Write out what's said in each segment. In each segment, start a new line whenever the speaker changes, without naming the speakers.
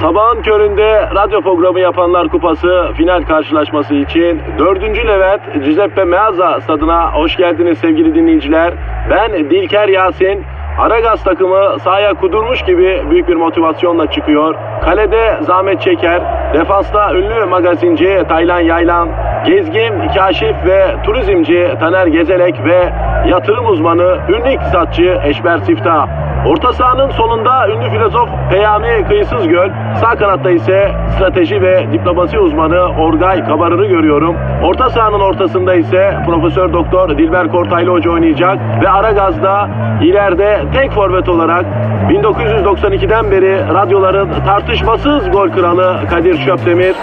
Sabahın köründe radyo programı yapanlar kupası final karşılaşması için 4. Levent Giuseppe Meazza stadına hoş geldiniz sevgili dinleyiciler. Ben Dilker Yasin. Aragaz takımı sahaya kudurmuş gibi büyük bir motivasyonla çıkıyor. Kalede zahmet çeker. Defansta ünlü magazinci Taylan Yaylan, gezgin, kaşif ve turizmci Taner Gezelek ve yatırım uzmanı, ünlü iktisatçı Eşber Siftah. Orta sahanın solunda ünlü filozof Peyami Kıyısız Göl, sağ kanatta ise strateji ve diplomasi uzmanı Orgay Kabarır'ı görüyorum. Orta sahanın ortasında ise Profesör Doktor Dilber Kortaylı Hoca oynayacak ve Aragaz'da ileride tek forvet olarak 1992'den beri radyoların tartışmasız gol kralı Kadir Şöpdemir.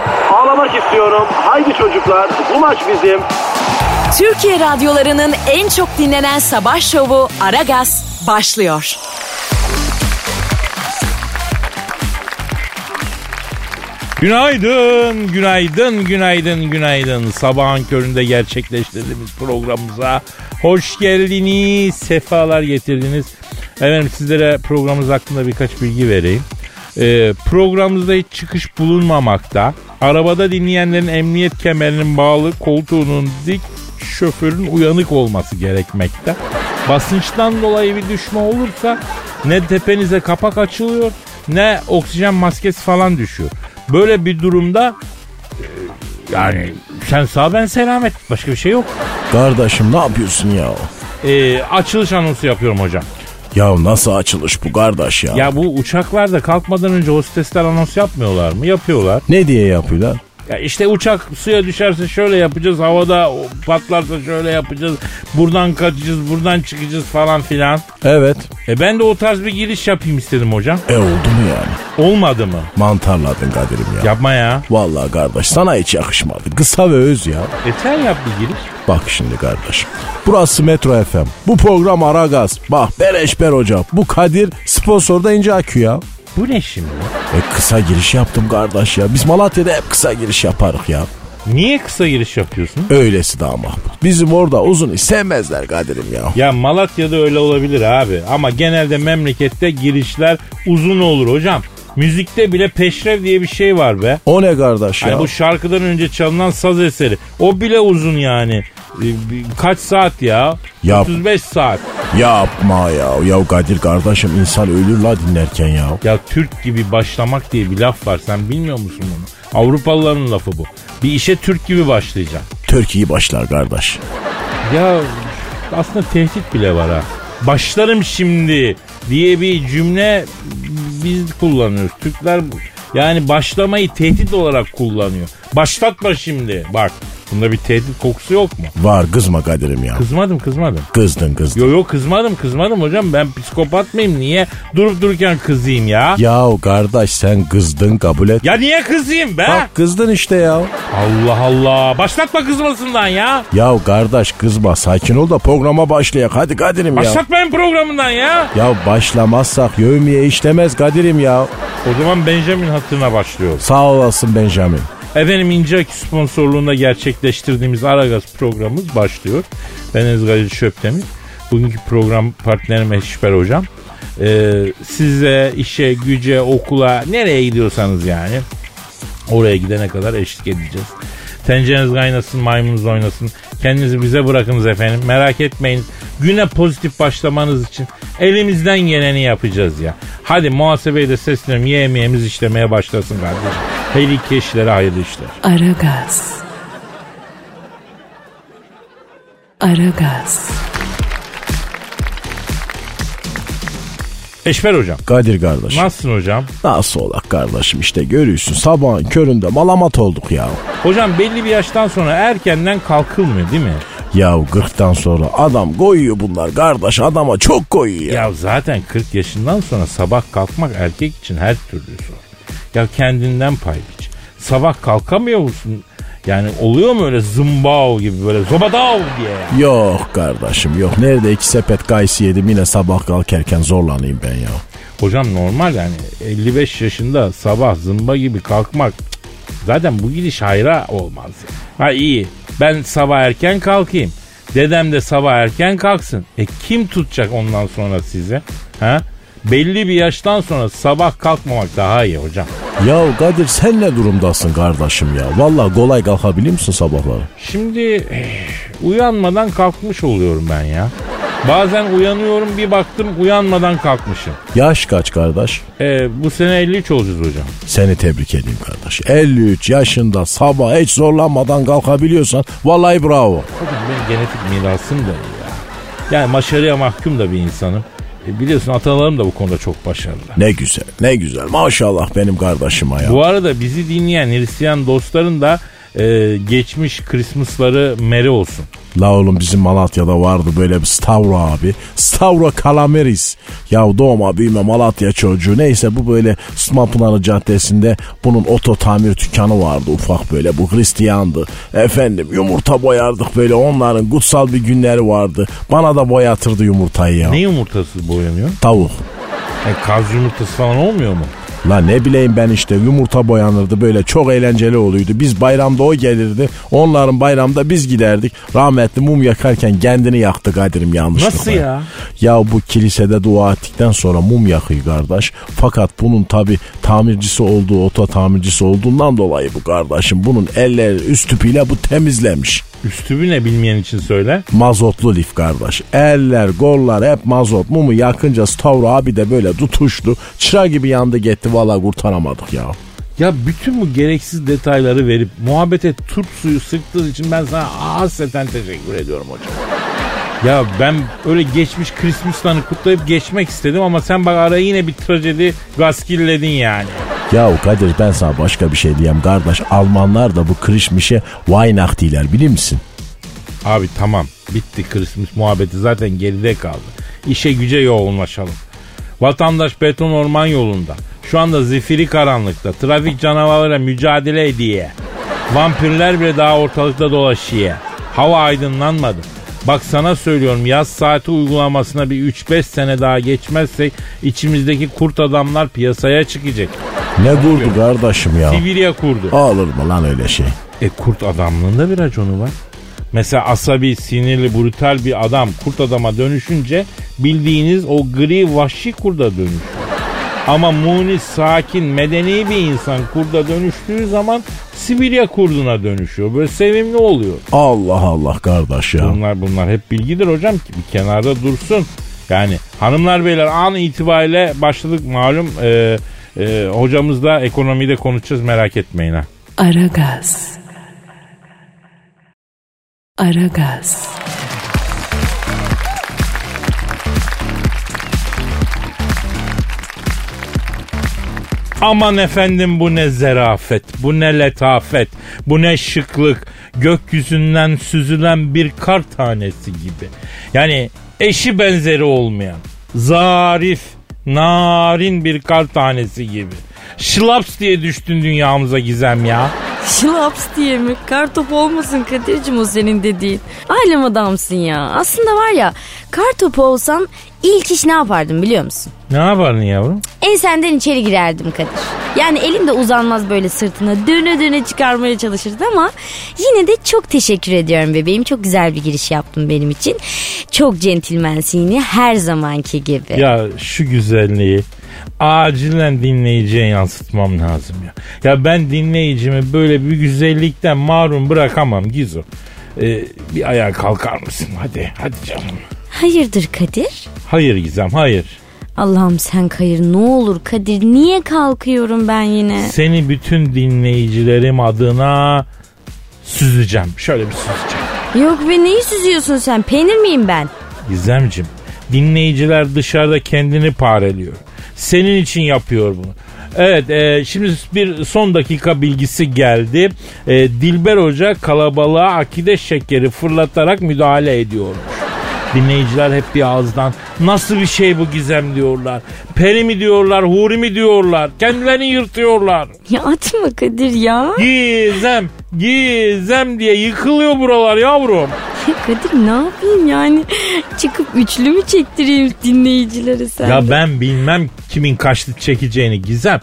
Ağlamak istiyorum. Haydi çocuklar bu maç bizim.
Türkiye radyolarının en çok dinlenen sabah şovu Aragaz başlıyor.
Günaydın, günaydın, günaydın, günaydın. Sabahın köründe gerçekleştirdiğimiz programımıza hoş geldiniz, sefalar getirdiniz. Efendim sizlere programımız hakkında birkaç bilgi vereyim. Ee, programımızda hiç çıkış bulunmamakta. Arabada dinleyenlerin emniyet kemerinin bağlı koltuğunun dik şoförün uyanık olması gerekmekte. Basınçtan dolayı bir düşme olursa ne tepenize kapak açılıyor ne oksijen maskesi falan düşüyor. Böyle bir durumda e, yani sen sağ ben selamet başka bir şey yok.
Kardeşim ne yapıyorsun ya?
Ee, açılış anonsu yapıyorum hocam.
Ya nasıl açılış bu kardeş ya?
Ya bu uçaklarda kalkmadan önce hostesler anons yapmıyorlar mı? Yapıyorlar.
Ne diye yapıyorlar?
Ya işte uçak suya düşerse şöyle yapacağız, havada o- patlarsa şöyle yapacağız, buradan kaçacağız, buradan çıkacağız falan filan.
Evet.
E ben de o tarz bir giriş yapayım istedim hocam.
E oldu mu yani?
Olmadı mı?
Mantarladın Kadir'im ya.
Yapma ya.
Vallahi kardeş sana hiç yakışmadı. Kısa ve öz ya.
E sen yap bir giriş.
Bak şimdi kardeşim. Burası Metro FM. Bu program Aragaz. Bak Bereşber Hoca. Bu Kadir sponsor da ince akü ya.
Bu ne şimdi?
E kısa giriş yaptım kardeş ya. Biz Malatya'da hep kısa giriş yaparız ya.
Niye kısa giriş yapıyorsun?
Öylesi daha mahmut. Bizim orada uzun iş sevmezler Kadir'im ya.
Ya Malatya'da öyle olabilir abi ama genelde memlekette girişler uzun olur hocam. Müzikte bile peşrev diye bir şey var be.
O ne kardeş ya?
Hani bu şarkıdan önce çalınan saz eseri. O bile uzun yani. Ee, bir- Kaç saat ya?
Yap.
35 saat.
Yapma ya. Ya Kadir kardeşim insan ölür la dinlerken ya.
Ya Türk gibi başlamak diye bir laf var. Sen bilmiyor musun bunu? Avrupalıların lafı bu. Bir işe Türk gibi başlayacaksın.
Türkiye'yi başlar kardeş.
Ya aslında tehdit bile var ha. Başlarım şimdi diye bir cümle biz kullanıyoruz. Türkler yani başlamayı tehdit olarak kullanıyor. Başlatma şimdi. Bak bunda bir tehdit kokusu yok mu?
Var kızma Kadir'im ya.
Kızmadım kızmadım.
Kızdın kızdın.
Yo yo kızmadım kızmadım hocam ben psikopat mıyım niye durup dururken kızayım ya? Ya,
Ya kardeş sen kızdın kabul et.
niye kızayım be?
Bak kızdın işte ya.
Allah Allah başlatma kızmasından ya.
Ya kardeş kızma sakin ol da programa başlayak. Hadi Kadir'im ya.
Başlatmayın programından ya.
Ya başlamazsak yövmiye işlemez Kadir'im ya.
O zaman Benjamin hatırına başlıyoruz.
Sağ olasın Benjamin.
Efendim İnce Akü sponsorluğunda gerçekleştirdiğimiz Aragaz programımız başlıyor. Ben Ezgail Şöpdemir. Bugünkü program partnerim Eşber Hocam. Ee, size, işe, güce, okula, nereye gidiyorsanız yani oraya gidene kadar eşlik edeceğiz. Tencereniz kaynasın, maymununuz oynasın. Kendinizi bize bırakınız efendim. Merak etmeyin. Güne pozitif başlamanız için elimizden geleni yapacağız ya. Hadi muhasebeyi de sesleniyorum. Yemeğimiz işlemeye başlasın kardeşim. Her iki işlere hayırlı işler.
Aragaz. Aragaz.
Eşber hocam.
Kadir kardeş.
Nasılsın hocam?
Nasıl olak kardeşim işte görüyorsun sabahın köründe malamat olduk ya.
Hocam belli bir yaştan sonra erkenden kalkılmıyor değil mi?
Ya 40'tan sonra adam koyuyor bunlar kardeş adama çok koyuyor ya.
Ya zaten 40 yaşından sonra sabah kalkmak erkek için her türlü zor. Ya kendinden pay biç. Sabah kalkamıyor musun? Yani oluyor mu öyle zımbao gibi böyle zobadav diye ya?
Yok kardeşim yok nerede iki sepet kayısı yedim yine sabah kalkarken zorlanayım ben ya.
Hocam normal yani 55 yaşında sabah zımba gibi kalkmak zaten bu gidiş hayra olmaz. Ha iyi ben sabah erken kalkayım. Dedem de sabah erken kalksın. E kim tutacak ondan sonra size? Ha? Belli bir yaştan sonra sabah kalkmamak daha iyi hocam.
Ya Kadir sen ne durumdasın kardeşim ya? Vallahi kolay kalkabiliyor musun sabahları?
Şimdi eh, uyanmadan kalkmış oluyorum ben ya. Bazen uyanıyorum bir baktım uyanmadan kalkmışım.
Yaş kaç kardeş?
E, bu sene 53 olacağız hocam.
Seni tebrik edeyim kardeş. 53 yaşında sabah hiç zorlanmadan kalkabiliyorsan vallahi bravo.
Hocam benim genetik mirasım da iyi ya. Yani başarıya mahkum da bir insanım. E, biliyorsun atalarım da bu konuda çok başarılı.
Ne güzel ne güzel maşallah benim kardeşime ya.
Bu arada bizi dinleyen Hristiyan dostların da e, geçmiş Christmas'ları meri olsun.
La oğlum bizim Malatya'da vardı böyle bir Stavro abi. Stavro Kalameris. Ya doğma büyüme Malatya çocuğu. Neyse bu böyle Sumapınarı Caddesi'nde bunun oto tamir dükkanı vardı ufak böyle. Bu Hristiyandı. Efendim yumurta boyardık böyle onların kutsal bir günleri vardı. Bana da boyatırdı yumurtayı ya.
Ne yumurtası boyanıyor?
Tavuk.
E, kaz yumurtası falan olmuyor mu?
La ne bileyim ben işte yumurta boyanırdı böyle çok eğlenceli oluyordu. Biz bayramda o gelirdi. Onların bayramda biz giderdik. Rahmetli mum yakarken kendini yaktı Kadir'im yanlışlıkla.
Nasıl ya?
Ya bu kilisede dua ettikten sonra mum yakıyor kardeş. Fakat bunun tabi tamircisi olduğu oto tamircisi olduğundan dolayı bu kardeşim bunun elleri üst tüpüyle bu temizlemiş.
Üstübü ne bilmeyen için söyle.
Mazotlu lif kardeş. Eller, gollar hep mazot. Mumu yakınca Stavro abi de böyle tutuştu. Çıra gibi yandı gitti. Valla kurtaramadık ya.
Ya bütün bu gereksiz detayları verip muhabbete turp suyu sıktığın için ben sana hasreten teşekkür ediyorum hocam. Ya ben öyle geçmiş Christmas'larını kutlayıp geçmek istedim ama sen bak araya yine bir trajedi gaskilledin yani.
Ya Kadir ben sana başka bir şey diyeyim kardeş. Almanlar da bu kırışmışe Weihnacht diler bilir misin?
Abi tamam bitti Christmas muhabbeti zaten geride kaldı. İşe güce yoğunlaşalım. Vatandaş beton orman yolunda. Şu anda zifiri karanlıkta. Trafik canavarıyla mücadele ediye. Vampirler bile daha ortalıkta dolaşıyor. Hava aydınlanmadı. Bak sana söylüyorum yaz saati uygulamasına bir 3-5 sene daha geçmezsek içimizdeki kurt adamlar piyasaya çıkacak.
Ne vurdu kardeşim ya?
Sibirya kurdu.
Olur mu lan öyle şey?
E kurt adamlığında bir raconu var. Mesela asabi, sinirli, brutal bir adam kurt adama dönüşünce bildiğiniz o gri vahşi kurda dönüşüyor. Ama munis, sakin, medeni bir insan kurda dönüştüğü zaman Sibirya kurduna dönüşüyor. Böyle sevimli oluyor.
Allah Allah kardeş ya.
Bunlar bunlar hep bilgidir hocam ki bir kenarda dursun. Yani hanımlar beyler an itibariyle başladık malum e, e, hocamızla ekonomide konuşacağız merak etmeyin ha.
Aragaz. Aragaz.
Aman efendim bu ne zerafet, bu ne letafet, bu ne şıklık. Gökyüzünden süzülen bir kar tanesi gibi. Yani eşi benzeri olmayan, zarif, narin bir kar tanesi gibi. Şılaps diye düştün dünyamıza gizem ya.
Şılaps diye mi? Kartopu olmasın Kadir'cim o senin dediğin. Alem adamsın ya. Aslında var ya kartopu olsam ilk iş ne yapardım biliyor musun?
Ne yapardın yavrum?
Ensenden içeri girerdim Kadir. Yani elim de uzanmaz böyle sırtına döne döne çıkarmaya çalışırdı ama yine de çok teşekkür ediyorum bebeğim. Çok güzel bir giriş yaptın benim için. Çok centilmensin yine her zamanki gibi.
Ya şu güzelliği acilen dinleyiciye yansıtmam lazım ya. Ya ben dinleyicimi böyle bir güzellikten mahrum bırakamam Gizo. Ee, bir ayağa kalkar mısın hadi hadi canım.
Hayırdır Kadir?
Hayır Gizem hayır.
Allah'ım sen kayır ne olur Kadir niye kalkıyorum ben yine?
Seni bütün dinleyicilerim adına süzeceğim. Şöyle bir süzeceğim.
Yok be neyi süzüyorsun sen peynir miyim ben?
Gizemcim dinleyiciler dışarıda kendini pareliyor. Senin için yapıyor bunu. Evet e, şimdi bir son dakika bilgisi geldi. E, Dilber Hoca kalabalığa akide şekeri fırlatarak müdahale ediyor. Dinleyiciler hep bir ağızdan nasıl bir şey bu gizem diyorlar. Peri mi diyorlar, huri mi diyorlar. Kendilerini yırtıyorlar.
Ya atma Kadir ya.
Gizem, gizem diye yıkılıyor buralar yavrum.
Ya Kadir ne yapayım yani? Çıkıp üçlü mü çektireyim dinleyicilere sen?
Ya ben bilmem kimin kaçlık çekeceğini Gizem.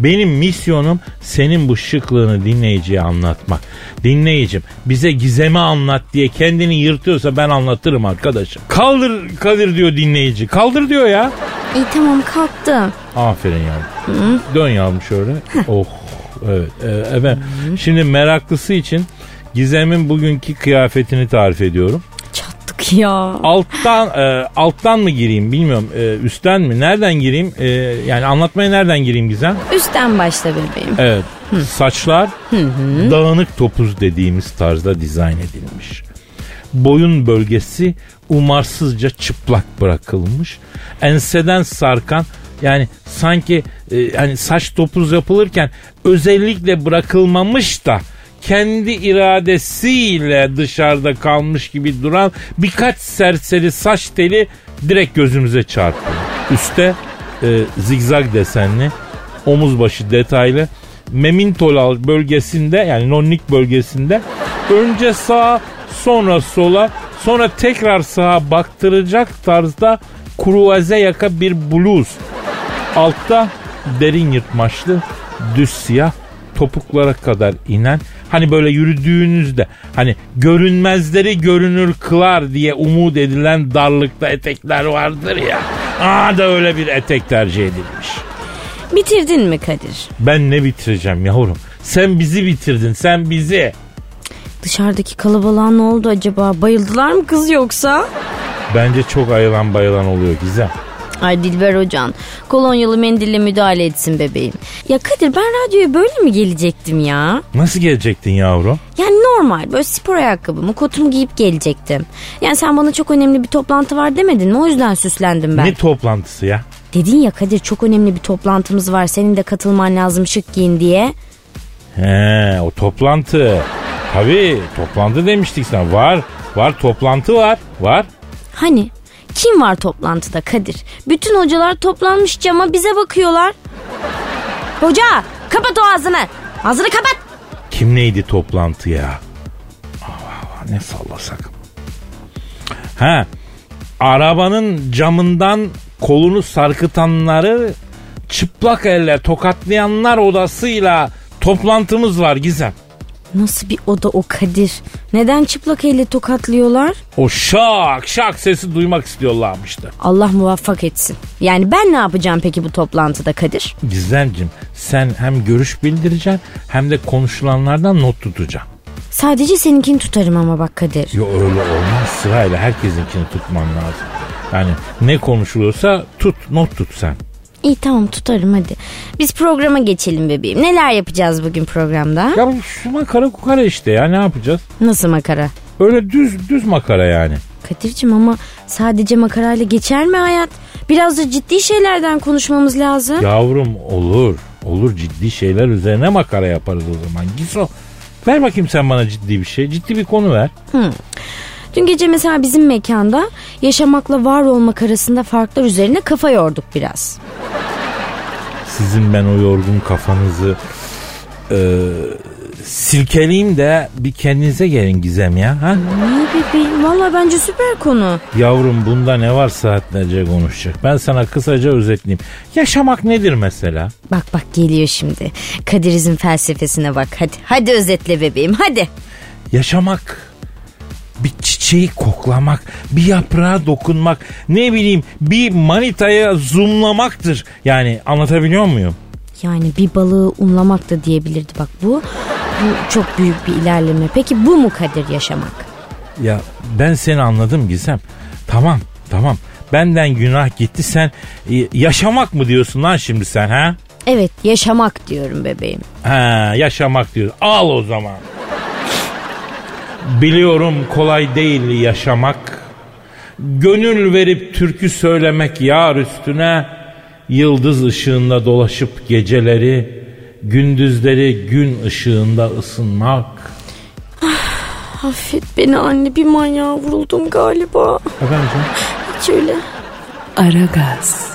Benim misyonum senin bu şıklığını dinleyiciye anlatmak. Dinleyicim bize gizemi anlat diye kendini yırtıyorsa ben anlatırım arkadaşım. Kaldır Kadir diyor dinleyici. Kaldır diyor ya.
İyi tamam kalktım.
Aferin yavrum. Dön yavrum şöyle. oh. Evet. e, efendim. Şimdi meraklısı için Gizem'in bugünkü kıyafetini tarif ediyorum.
Çattık ya.
Alttan e, alttan mı gireyim bilmiyorum. E, üstten mi? Nereden gireyim? E, yani anlatmaya nereden gireyim Gizem?
Üstten başla bebeğim.
Evet. Saçlar dağınık topuz dediğimiz tarzda dizayn edilmiş. Boyun bölgesi umarsızca çıplak bırakılmış. Enseden sarkan yani sanki e, hani saç topuz yapılırken özellikle bırakılmamış da kendi iradesiyle dışarıda kalmış gibi duran birkaç serseri saç teli direkt gözümüze çarpıyor. Üste e, zigzag desenli omuz başı detaylı. Memintolal bölgesinde yani nonnik bölgesinde önce sağa sonra sola sonra tekrar sağa baktıracak tarzda kruvaze yaka bir bluz. Altta derin yırtmaçlı düz siyah topuklara kadar inen hani böyle yürüdüğünüzde hani görünmezleri görünür kılar diye umut edilen darlıkta etekler vardır ya. Aa da öyle bir etek tercih edilmiş.
Bitirdin mi Kadir?
Ben ne bitireceğim yavrum? Sen bizi bitirdin, sen bizi.
Dışarıdaki kalabalığa ne oldu acaba? Bayıldılar mı kız yoksa?
Bence çok ayılan bayılan oluyor Gizem.
Ay Dilber hocan kolonyalı mendille müdahale etsin bebeğim. Ya Kadir ben radyoya böyle mi gelecektim ya?
Nasıl gelecektin yavrum?
Yani normal böyle spor ayakkabımı kotumu giyip gelecektim. Yani sen bana çok önemli bir toplantı var demedin mi? O yüzden süslendim ben.
Ne toplantısı ya?
Dedin ya Kadir çok önemli bir toplantımız var senin de katılman lazım şık giyin diye.
He, o toplantı. Tabii toplantı demiştik sana. Var, var toplantı var, var.
Hani kim var toplantıda Kadir? Bütün hocalar toplanmış cama bize bakıyorlar. Hoca kapat o ağzını. Ağzını kapat.
Kim neydi toplantı ya? Allah Allah, ne sallasak. Ha, arabanın camından kolunu sarkıtanları çıplak eller tokatlayanlar odasıyla toplantımız var Gizem.
Nasıl bir oda o Kadir? Neden çıplak elle tokatlıyorlar?
O şak şak sesi duymak istiyorlarmıştı.
Allah muvaffak etsin. Yani ben ne yapacağım peki bu toplantıda Kadir?
Gizemcim sen hem görüş bildireceksin hem de konuşulanlardan not tutacaksın.
Sadece seninkini tutarım ama bak Kadir.
Yo öyle olmaz sırayla herkesinkini tutman lazım. Yani ne konuşuluyorsa tut not tut sen.
İyi tamam tutarım hadi. Biz programa geçelim bebeğim. Neler yapacağız bugün programda?
Ya bu şu makara kukara işte ya ne yapacağız?
Nasıl makara?
Öyle düz düz makara yani.
Kadir'cim ama sadece makarayla geçer mi hayat? Biraz da ciddi şeylerden konuşmamız lazım.
Yavrum olur. Olur ciddi şeyler üzerine makara yaparız o zaman. Giso ver bakayım sen bana ciddi bir şey. Ciddi bir konu ver.
Dün gece mesela bizim mekanda yaşamakla var olmak arasında farklar üzerine kafa yorduk biraz.
Sizin ben o yorgun kafanızı e, silkeleyim de bir kendinize gelin Gizem ya. Ha?
Niye bebeğim? Valla bence süper konu.
Yavrum bunda ne var saatlerce konuşacak. Ben sana kısaca özetleyeyim. Yaşamak nedir mesela?
Bak bak geliyor şimdi. Kadirizm felsefesine bak hadi. Hadi özetle bebeğim hadi.
yaşamak, bir çiçeği koklamak, bir yaprağa dokunmak, ne bileyim bir manitaya zoomlamaktır. Yani anlatabiliyor muyum?
Yani bir balığı unlamak da diyebilirdi bak bu. Bu çok büyük bir ilerleme. Peki bu mu Kadir yaşamak?
Ya ben seni anladım Gizem. Tamam tamam benden günah gitti sen e, yaşamak mı diyorsun lan şimdi sen ha?
Evet yaşamak diyorum bebeğim.
Ha yaşamak diyor. Al o zaman. Biliyorum kolay değil yaşamak. Gönül verip türkü söylemek yar üstüne. Yıldız ışığında dolaşıp geceleri, gündüzleri gün ışığında ısınmak.
Affet beni anne bir manyağa vuruldum galiba.
Efendim canım?
Hiç öyle.
Aragaz.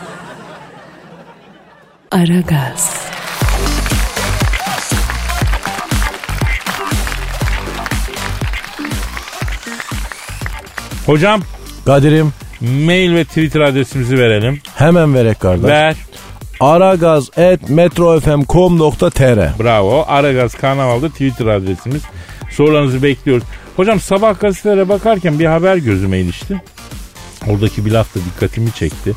Aragaz.
Hocam
Kadir'im
mail ve Twitter adresimizi verelim.
hemen verek kardeş.
Ver.
aragaz.metrofm.com.tr
Bravo. Aragaz Karnaval'da Twitter adresimiz. Sorularınızı bekliyoruz. Hocam sabah gazetelere bakarken bir haber gözüme ilişti. Oradaki bir laf da dikkatimi çekti.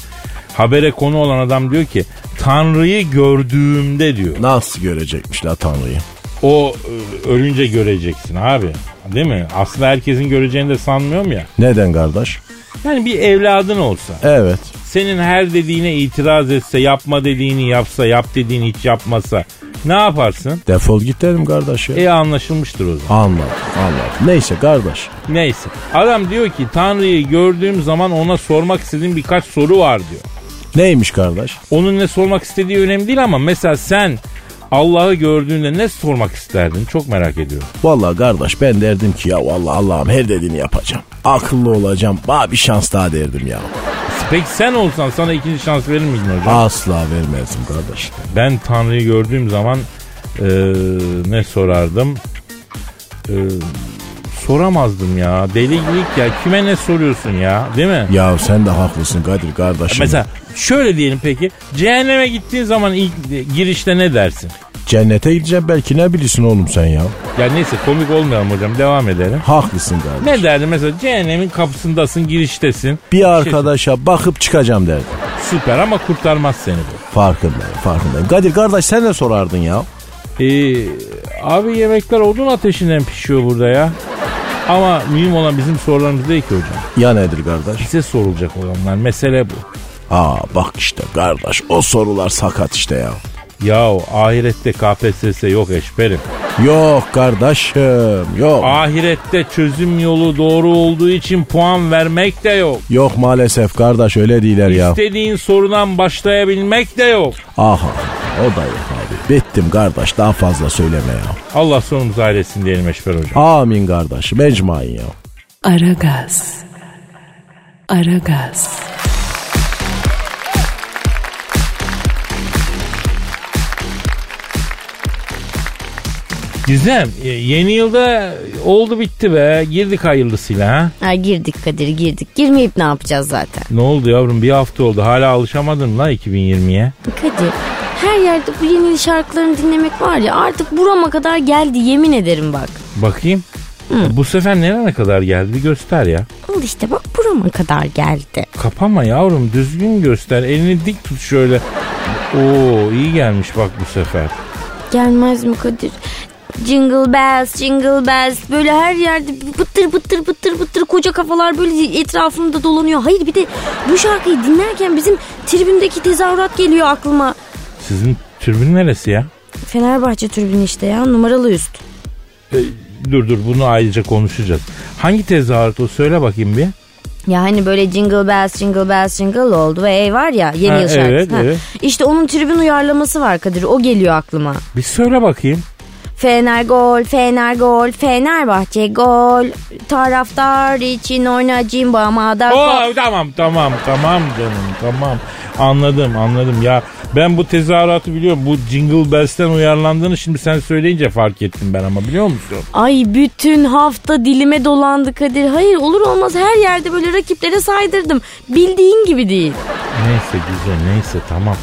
Habere konu olan adam diyor ki Tanrı'yı gördüğümde diyor.
Nasıl görecekmiş la Tanrı'yı?
O e, ölünce göreceksin abi. Değil mi? Aslında herkesin göreceğini de sanmıyorum ya.
Neden kardeş?
Yani bir evladın olsa
Evet.
senin her dediğine itiraz etse, yapma dediğini yapsa, yap dediğini hiç yapmasa ne yaparsın?
Defol git derim kardeş ya.
E anlaşılmıştır o zaman.
Anladım anladım. Neyse kardeş.
Neyse. Adam diyor ki Tanrı'yı gördüğüm zaman ona sormak istediğim birkaç soru var diyor.
Neymiş kardeş?
Onun ne sormak istediği önemli değil ama mesela sen Allah'ı gördüğünde ne sormak isterdin? Çok merak ediyorum.
Vallahi kardeş ben derdim ki ya vallahi Allah'ım her dediğini yapacağım. Akıllı olacağım. Bana bir şans daha derdim ya.
Peki sen olsan sana ikinci şans verir miydin hocam?
Asla vermezdim kardeş.
Ben Tanrı'yı gördüğüm zaman eee, ne sorardım? Eee, soramazdım ya. Delilik ya. Kime ne soruyorsun ya? Değil mi?
Ya sen de haklısın Kadir kardeşim.
Mesela şöyle diyelim peki. Cehenneme gittiğin zaman ilk girişte ne dersin?
Cennete gideceğim belki ne bilirsin oğlum sen ya.
Ya neyse komik olmayalım hocam devam edelim.
Haklısın kardeş.
Ne derdim mesela cehennemin kapısındasın giriştesin. şey
Bir arkadaşa bakıp çıkacağım derdim.
Süper ama kurtarmaz seni bu.
Farkındayım farkındayım. Kadir kardeş sen ne sorardın ya?
Ee, abi yemekler odun ateşinden pişiyor burada ya. Ama mühim olan bizim sorularımız değil ki hocam.
Ya nedir kardeş?
Bize sorulacak olanlar mesele bu.
Aa bak işte kardeş o sorular sakat işte ya.
Yahu ahirette KPSS yok eşberim.
Yok kardeşim yok.
Ahirette çözüm yolu doğru olduğu için puan vermek de yok.
Yok maalesef kardeş öyle değiller ya.
İstediğin sorudan başlayabilmek de yok.
Aha Ah, o da yok abi. Bittim kardeş daha fazla söyleme ya.
Allah sonumuzu ailesin diyelim Eşber Hocam.
Amin kardeş mecmain ya.
Aragaz. Aragaz.
Gizem e, yeni yılda oldu bitti be girdik hayırlısıyla ha.
Ha, girdik Kadir girdik. Girmeyip ne yapacağız zaten?
Ne oldu yavrum bir hafta oldu hala alışamadın mı la 2020'ye.
Kadir her yerde bu yeni şarkılarını dinlemek var ya artık burama kadar geldi yemin ederim bak.
Bakayım E, bu sefer nereye kadar geldi bir göster ya.
Al işte bak burama kadar geldi.
Kapama yavrum düzgün göster elini dik tut şöyle. Oo iyi gelmiş bak bu sefer.
Gelmez mi Kadir? Jingle bells, jingle bells. Böyle her yerde bıttır bıttır bıttır bıttır koca kafalar böyle etrafımda dolanıyor. Hayır bir de bu şarkıyı dinlerken bizim tribündeki tezahürat geliyor aklıma.
Sizin türbün neresi ya?
Fenerbahçe tribünü işte ya numaralı üst.
Dur dur bunu ayrıca konuşacağız. Hangi tezahürat o söyle bakayım bir.
Ya hani böyle jingle bells, jingle bells, jingle oldu ve ey var ya yeni
Ha,
yıl şarkısı.
evet,
Ha.
evet.
İşte onun tribün uyarlaması var Kadir o geliyor aklıma.
Bir söyle bakayım.
Fener gol, Fener gol, Fenerbahçe gol. Taraftar için oyna cimba madar.
Oo, tamam tamam tamam canım tamam. Anladım anladım ya. Ben bu tezahüratı biliyorum. Bu Jingle Bells'ten uyarlandığını şimdi sen söyleyince fark ettim ben ama biliyor musun?
Ay bütün hafta dilime dolandı Kadir. Hayır olur olmaz her yerde böyle rakiplere saydırdım. Bildiğin gibi değil.
Neyse güzel neyse tamam.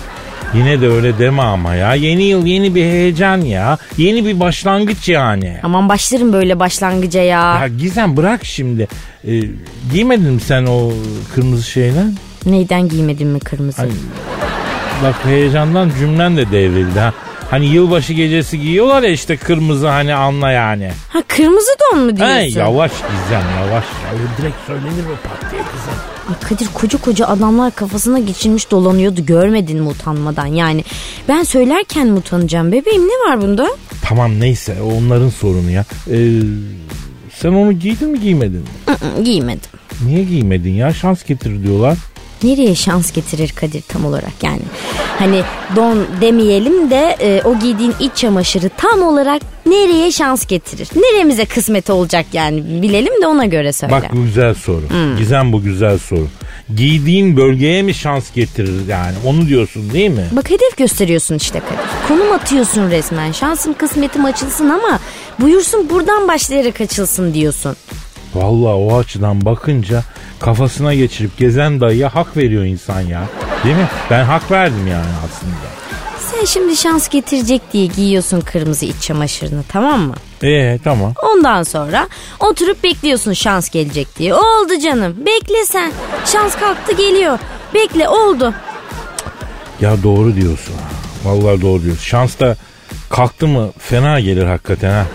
Yine de öyle deme ama ya. Yeni yıl yeni bir heyecan ya. Yeni bir başlangıç yani.
Aman başlarım böyle başlangıca ya.
Ya Gizem bırak şimdi. Ee, giymedin mi sen o kırmızı şeyden?
Neyden giymedin mi kırmızı?
Ay. Bak heyecandan cümlen de devrildi ha. Hani yılbaşı gecesi giyiyorlar ya işte kırmızı hani anla yani.
Ha kırmızı don mu diyorsun?
Hey, yavaş Gizem yavaş. Ya, direkt söylenir o pat diye Gizem.
Ay Kadir koca koca adamlar kafasına geçirmiş dolanıyordu. Görmedin mi utanmadan yani? Ben söylerken mi utanacağım bebeğim ne var bunda?
Tamam neyse o onların sorunu ya. Ee, sen onu giydin mi giymedin mi?
Hı, Giymedim.
Niye giymedin ya? Şans getirir diyorlar.
Nereye şans getirir Kadir tam olarak yani? Hani don demeyelim de e, o giydiğin iç çamaşırı tam olarak nereye şans getirir? Neremize kısmet olacak yani bilelim de ona göre söyle.
Bak bu güzel soru. Gizem bu güzel soru. Giydiğin bölgeye mi şans getirir yani? Onu diyorsun değil mi?
Bak hedef gösteriyorsun işte Kadir. Konum atıyorsun resmen. Şansım kısmetim açılsın ama buyursun buradan başlayarak açılsın diyorsun.
Vallahi o açıdan bakınca kafasına geçirip gezen dayıya hak veriyor insan ya. Değil mi? Ben hak verdim yani aslında.
Sen şimdi şans getirecek diye giyiyorsun kırmızı iç çamaşırını tamam mı?
Ee tamam.
Ondan sonra oturup bekliyorsun şans gelecek diye. Oldu canım. Bekle sen. Şans kalktı geliyor. Bekle oldu.
Ya doğru diyorsun. Vallahi doğru diyorsun. Şans da kalktı mı fena gelir hakikaten ha.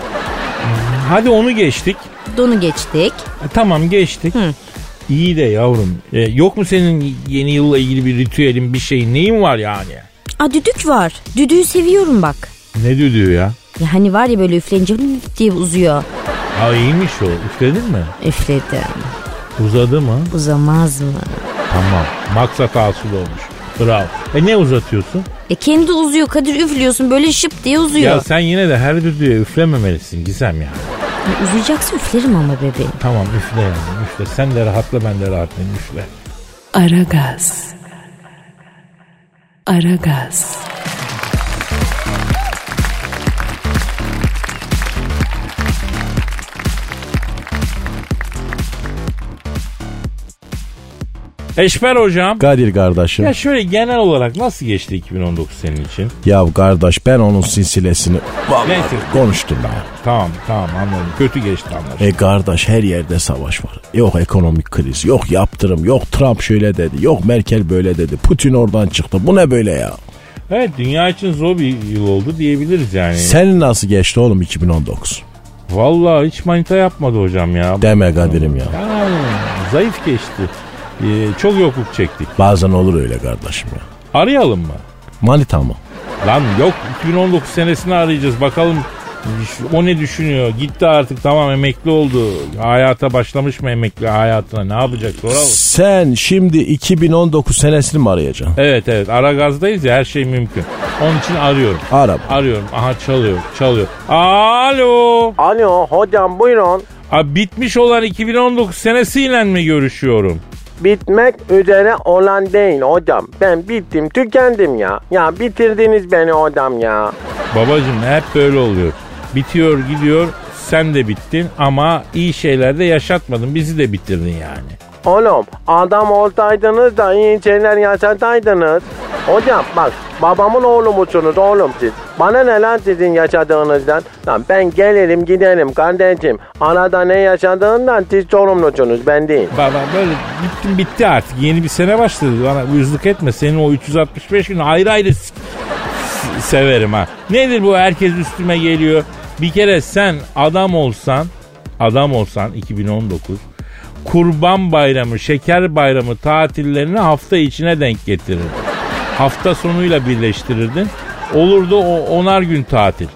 Hadi onu geçtik.
Donu geçtik.
E, tamam geçtik.
Hı.
İyi de yavrum. E, yok mu senin yeni yılla ilgili bir ritüelin bir şeyin neyin var yani?
Aa düdük var. Düdüğü seviyorum bak.
Ne düdüğü ya?
Ya hani var ya böyle üflenince lüp diye uzuyor.
Ha iyiymiş o. Üfledin mi?
Üfledim.
Uzadı mı?
Uzamaz mı?
Tamam. Maksat hasıl olmuş. Bravo. E ne uzatıyorsun?
E kendi uzuyor Kadir üflüyorsun böyle şıp diye
Ya
uzuyor.
sen yine de her düdüğe üflememelisin Gizem ya.
Ya Uzayacaksa E, üflerim ama bebeğim.
Tamam üfle yani üfle. Sen de rahatla ben de rahatlayayım üfle.
Aragaz. Aragaz.
Eşber hocam.
Kadir kardeşim.
Ya şöyle genel olarak nasıl geçti 2019 senin için?
Ya kardeş ben onun silsilesini
Neyse.
konuştum ben.
Tamam tamam anladım. Kötü geçti anlaşılan.
E kardeş her yerde savaş var. Yok ekonomik kriz, yok yaptırım, yok Trump şöyle dedi, yok Merkel böyle dedi, Putin oradan çıktı. Bu ne böyle ya?
Evet dünya için zor bir yıl oldu diyebiliriz yani.
Senin nasıl geçti oğlum 2019?
Vallahi hiç manita yapmadı hocam ya.
Deme Kadir'im ya.
Yani zayıf geçti. Ee, çok yokluk çektik.
Bazen olur öyle kardeşim ya.
Arayalım mı?
Manita mı?
Lan yok 2019 senesini arayacağız bakalım o ne düşünüyor? Gitti artık tamam emekli oldu. Hayata başlamış mı emekli hayatına ne yapacak soralım.
Sen şimdi 2019 senesini mi arayacaksın?
Evet evet ara gazdayız ya her şey mümkün. Onun için arıyorum.
Ara.
Arıyorum. Aha çalıyor. Çalıyor. Alo.
Alo hocam buyurun.
Abi bitmiş olan 2019 senesiyle mi görüşüyorum?
Bitmek üzere olan değil hocam. Ben bittim tükendim ya. Ya bitirdiniz beni hocam ya.
Babacım hep böyle oluyor. Bitiyor gidiyor sen de bittin ama iyi şeyler de yaşatmadın bizi de bitirdin yani.
Oğlum adam olsaydınız da iyi şeyler yaşataydınız. Hocam bak babamın oğlu musunuz oğlum siz? Bana ne lan sizin yaşadığınızdan? Lan ben gelirim giderim kardeşim. Arada ne yaşadığından siz sorumlusunuz ben değil.
Baba böyle bittim bitti artık yeni bir sene başladı bana uyuzluk etme senin o 365 gün ayrı ayrı s- s- severim ha. Nedir bu herkes üstüme geliyor. Bir kere sen adam olsan adam olsan 2019 kurban bayramı şeker bayramı tatillerini hafta içine denk getirirdin. Hafta sonuyla birleştirirdin. Olurdu o onar gün tatil.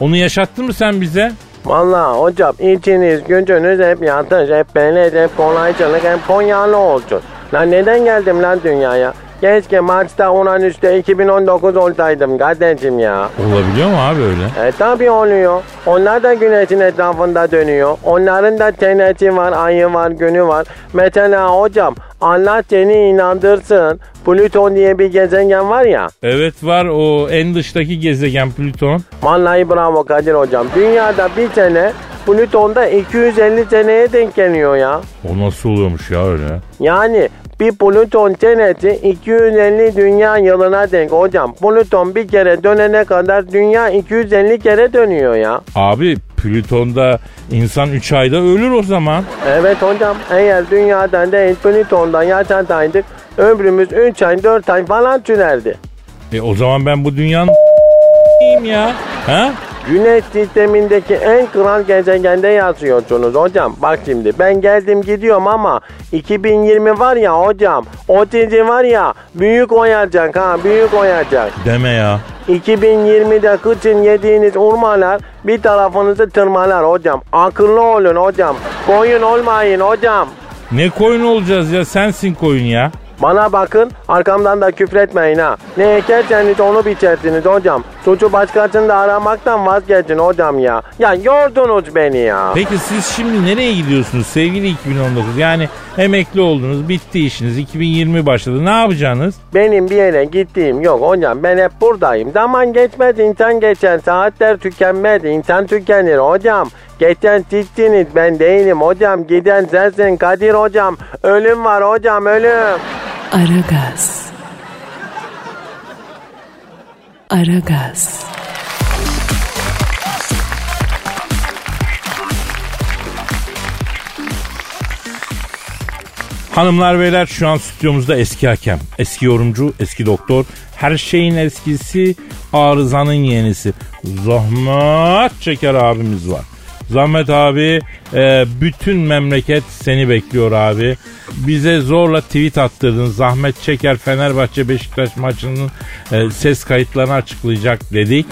Onu yaşattın mı sen bize?
Vallahi hocam içiniz gücünüz hep yatış, hep beleş, hep kolaycılık, hep Konyalı olsun. Lan neden geldim lan dünyaya? Keşke Mars'ta Uranüs'te 2019 olsaydım kardeşim ya.
Olabiliyor mu abi öyle?
E tabi oluyor. Onlar da güneşin etrafında dönüyor. Onların da teneti var, ayı var, günü var. Mesela hocam Allah seni inandırsın. Plüton diye bir gezegen var ya.
Evet var o en dıştaki gezegen Plüton.
Vallahi bravo Kadir hocam. Dünyada bir sene Plüton'da 250 seneye denk geliyor ya.
O nasıl oluyormuş ya öyle?
Yani bir Plüton senesi 250 dünya yılına denk hocam. Plüton bir kere dönene kadar dünya 250 kere dönüyor ya.
Abi Plüton'da insan 3 ayda ölür o zaman.
Evet hocam eğer dünyadan değil Plüton'dan yaşasaydık ömrümüz 3 ay 4 ay falan sürerdi.
E o zaman ben bu dünyanın ya. Ha?
Güneş sistemindeki en kral gezegende yazıyorsunuz hocam. Bak şimdi ben geldim gidiyorum ama 2020 var ya hocam. O dizi var ya büyük oyacak ha büyük oyacak.
Deme ya.
2020'de kıçın yediğiniz urmalar bir tarafınızı tırmalar hocam. Akıllı olun hocam. Koyun olmayın hocam.
Ne koyun olacağız ya sensin koyun ya.
Bana bakın arkamdan da küfretmeyin ha. Ne ekerseniz onu biçersiniz hocam. Suçu başkasında aramaktan vazgeçin hocam ya. Ya yordunuz beni ya.
Peki siz şimdi nereye gidiyorsunuz sevgili 2019? Yani emekli oldunuz, bitti işiniz, 2020 başladı. Ne yapacaksınız?
Benim bir yere gittiğim yok hocam. Ben hep buradayım. Zaman geçmez insan geçer. Saatler tükenmez. insan tükenir hocam. Geçen sizsiniz ben değilim hocam. Giden sensin Kadir hocam. Ölüm var hocam ölüm.
Aragaz. Aragaz,
Hanımlar beyler şu an stüdyomuzda eski hakem, eski yorumcu, eski doktor, her şeyin eskisi, arızanın yenisi. Zahmet Çeker abimiz var. Zahmet abi e, bütün memleket seni bekliyor abi. Bize zorla tweet attırdın. Zahmet Çeker Fenerbahçe Beşiktaş maçının e, ses kayıtlarını açıklayacak dedik.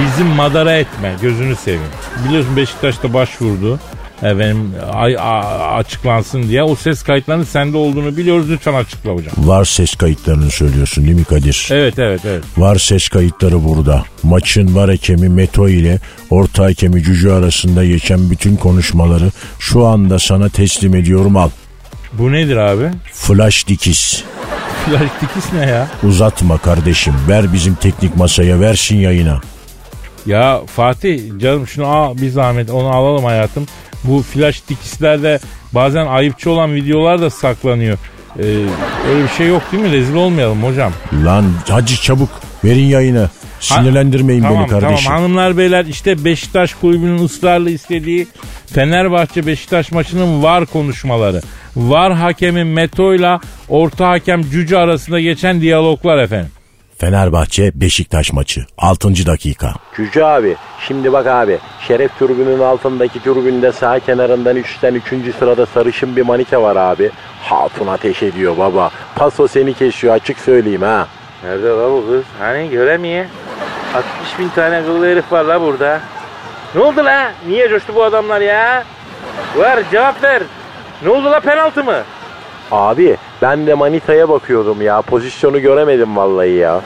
Bizi madara etme gözünü seveyim. Biliyorsun Beşiktaş da başvurdu efendim E, ay, a- açıklansın diye. O ses kayıtlarının sende olduğunu biliyoruz. Lütfen açıkla hocam.
Var ses kayıtlarını söylüyorsun değil mi Kadir?
Evet evet evet.
Var ses kayıtları burada. Maçın var hakemi Meto ile orta hakemi Cücü arasında geçen bütün konuşmaları şu anda sana teslim ediyorum al.
Bu nedir abi?
Flash dikiş.
Flash dikiş ne ya?
Uzatma kardeşim. Ver bizim teknik masaya versin yayına.
Ya Fatih canım şunu al bir zahmet onu alalım hayatım. Bu flash dikişlerde bazen ayıpçı olan videolar da saklanıyor. Ee, öyle bir şey yok değil mi? Rezil olmayalım hocam.
Lan hacı çabuk verin yayını. Sinirlendirmeyin
tamam,
beni kardeşim.
Tamam hanımlar beyler işte Beşiktaş kulübünün ısrarla istediği Fenerbahçe Beşiktaş maçının var konuşmaları. Var hakemi Meto'yla orta hakem Cüce arasında geçen diyaloglar efendim.
Fenerbahçe Beşiktaş maçı 6. dakika.
Cüce abi şimdi bak abi şeref türbünün altındaki türbünde sağ kenarından 3'ten 3. sırada sarışın bir manike var abi. Hatun ateş ediyor baba. Paso seni keşiyor açık söyleyeyim ha.
Nerede la bu kız? Hani göremiyor. 60 bin tane kıllı herif var la burada. Ne oldu la? Niye coştu bu adamlar ya? Var cevap ver. Ne oldu la penaltı mı?
Abi ben de manitaya bakıyordum ya pozisyonu göremedim vallahi ya.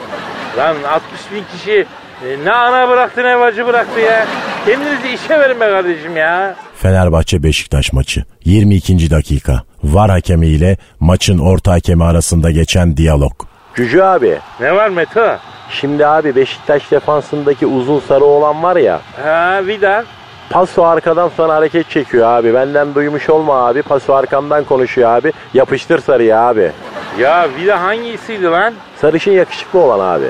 Lan 60 bin kişi e, ne ana bıraktı ne bacı bıraktı ya. Kendinizi işe verin be kardeşim ya.
Fenerbahçe Beşiktaş maçı 22. dakika. Var hakemi ile maçın orta hakemi arasında geçen diyalog.
Cüce abi
Ne var Meto?
şimdi abi Beşiktaş defansındaki uzun sarı olan var ya.
Ha Vida.
Paso arkadan sana hareket çekiyor abi. Benden duymuş olma abi. Paso arkamdan konuşuyor abi. Yapıştır sarıyı abi.
Ya Vida hangisiydi lan?
Sarışın yakışıklı olan abi.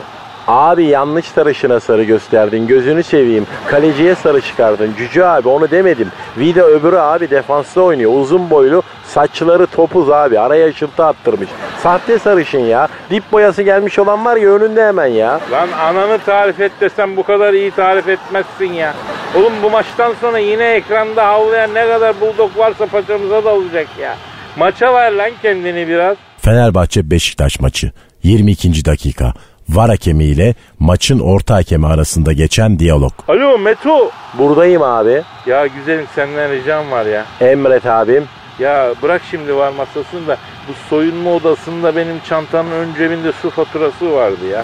Abi yanlış sarışına sarı gösterdin. Gözünü seveyim. Kaleciye sarı çıkardın. Cüce abi onu demedim. Vida öbürü abi defansta oynuyor. Uzun boylu. Saçları topuz abi. Araya ışıltı attırmış. Sahte sarışın ya. Dip boyası gelmiş olan var ya önünde hemen ya.
Lan ananı tarif et desem bu kadar iyi tarif etmezsin ya. Oğlum bu maçtan sonra yine ekranda havlayan ne kadar buldok varsa paçamıza da olacak ya. Maça ver lan kendini biraz.
Fenerbahçe Beşiktaş maçı 22. dakika. Var hakemi ile maçın orta hakemi arasında geçen diyalog.
Alo Meto.
Buradayım abi.
Ya güzelim senden ricam var ya.
Emret abim.
Ya bırak şimdi var masasını da bu soyunma odasında benim çantanın ön cebinde su faturası vardı ya.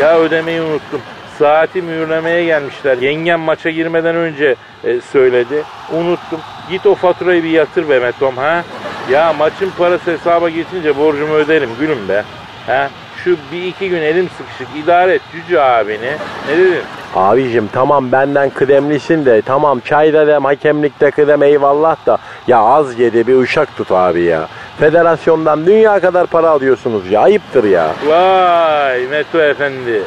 Ya ödemeyi unuttum. Saati mühürlemeye gelmişler. Yengem maça girmeden önce e, söyledi. Unuttum. Git o faturayı bir yatır be Metom ha. Ya maçın parası hesaba geçince borcumu öderim gülüm be. Ha? Şu bir iki gün elim sıkışık idare et Cüce abini. Ne dedim?
Abicim tamam benden kıdemlisin de tamam çay da dem hakemlikte kıdem eyvallah da ya az yedi bir uşak tut abi ya. Federasyondan dünya kadar para alıyorsunuz ya ayıptır ya.
Vay Meto Efendi.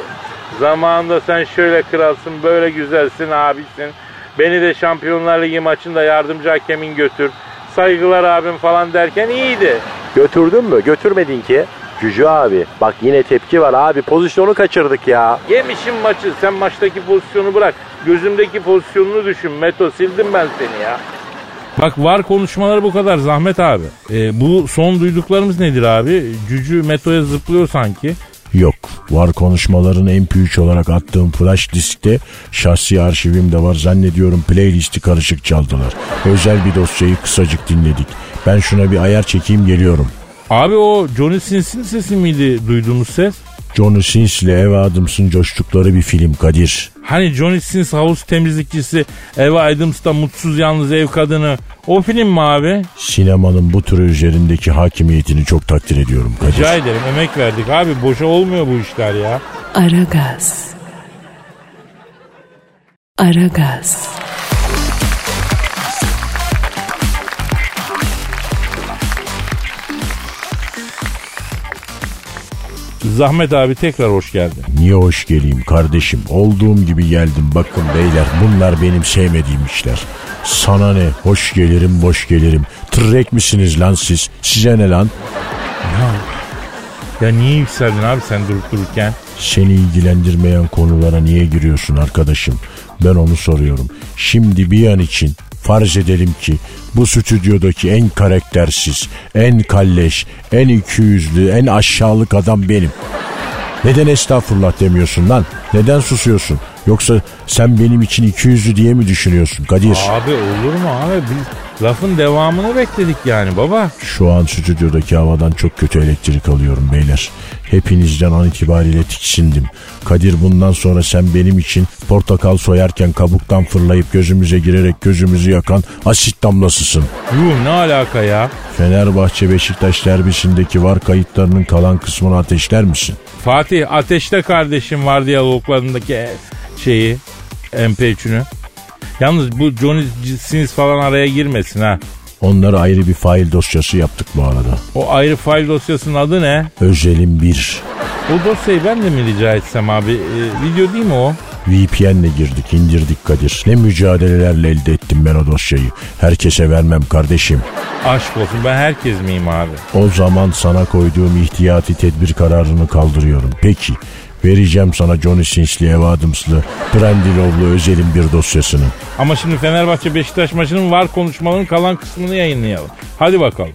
Zamanında sen şöyle kralsın, böyle güzelsin abisin. Beni de Şampiyonlar Ligi maçında yardımcı hakemin götür. Saygılar abim falan derken iyiydi.
Götürdün mü götürmedin ki. Cücü abi bak yine tepki var abi pozisyonu kaçırdık ya.
Yemişim maçı. Sen maçtaki pozisyonu bırak. Gözümdeki pozisyonunu düşün. Meto sildim ben seni ya.
Bak var konuşmaları bu kadar Zahmet abi. E, bu son duyduklarımız nedir abi? Cücü Meto'ya zıplıyor sanki.
Yok. Var konuşmaların MP3 olarak attığım flash diskte şahsi arşivimde var. Zannediyorum playlisti karışık çaldılar. Özel bir dosyayı kısacık dinledik. Ben şuna bir ayar çekeyim geliyorum.
Abi o Johnny Sins'in sesi miydi duyduğumuz ses?
Johnny Sins ile Eva Adams'ın coştukları bir film Kadir.
Hani Johnny Sins havuz temizlikçisi Eva Adams'ta mutsuz yalnız ev kadını. O film mi abi?
Sinemanın bu türü üzerindeki hakimiyetini çok takdir ediyorum Kadir.
Rica ederim emek verdik abi boşa olmuyor bu işler ya.
Aragaz. Aragaz,
Zahmet abi tekrar hoş geldin.
Niye hoş geleyim kardeşim? Olduğum gibi geldim. Bakın beyler bunlar benim sevmediğim işler. Sana ne? Hoş gelirim, boş gelirim. Tırrek misiniz lan siz? Size ne lan?
Ya niye yükseldin abi sen durup dururken?
Seni ilgilendirmeyen konulara niye giriyorsun arkadaşım? Ben onu soruyorum. Şimdi bir an için farz edelim ki bu stüdyodaki en karaktersiz, en kalleş, en ikiyüzlü, en aşağılık adam benim. Neden estağfurullah demiyorsun lan? Neden susuyorsun? Yoksa sen benim için ikiyüzlü diye mi düşünüyorsun Kadir?
Abi olur mu abi? Biz lafın devamını bekledik yani baba.
Şu an stüdyodaki havadan çok kötü elektrik alıyorum beyler. Hepinizden an itibariyle tiksindim. Kadir bundan sonra sen benim için portakal soyarken kabuktan fırlayıp gözümüze girerek gözümüzü yakan asit damlasısın.
Yuh ne alaka ya?
Fenerbahçe Beşiktaş derbisindeki var kayıtlarının kalan kısmını ateşler misin?
Fatih ateşte kardeşim var diyaloglarındaki şeyi MP3'ünü. Yalnız bu Johnny Sins falan araya girmesin ha.
Onları ayrı bir fail dosyası yaptık bu arada.
O ayrı fail dosyasının adı ne?
Özelim 1.
O dosyayı ben de mi rica etsem abi? Ee, video değil mi o?
VPN'le girdik indirdik Kadir. Ne mücadelelerle elde ettim ben o dosyayı. Herkese vermem kardeşim.
Aşk olsun ben herkes miyim abi?
O zaman sana koyduğum ihtiyati tedbir kararını kaldırıyorum. Peki vereceğim sana Johnny Sins'li, Eva Adams'lı, Brandilov'lu özelim bir dosyasını.
Ama şimdi Fenerbahçe Beşiktaş maçının var konuşmalarının kalan kısmını yayınlayalım. Hadi bakalım.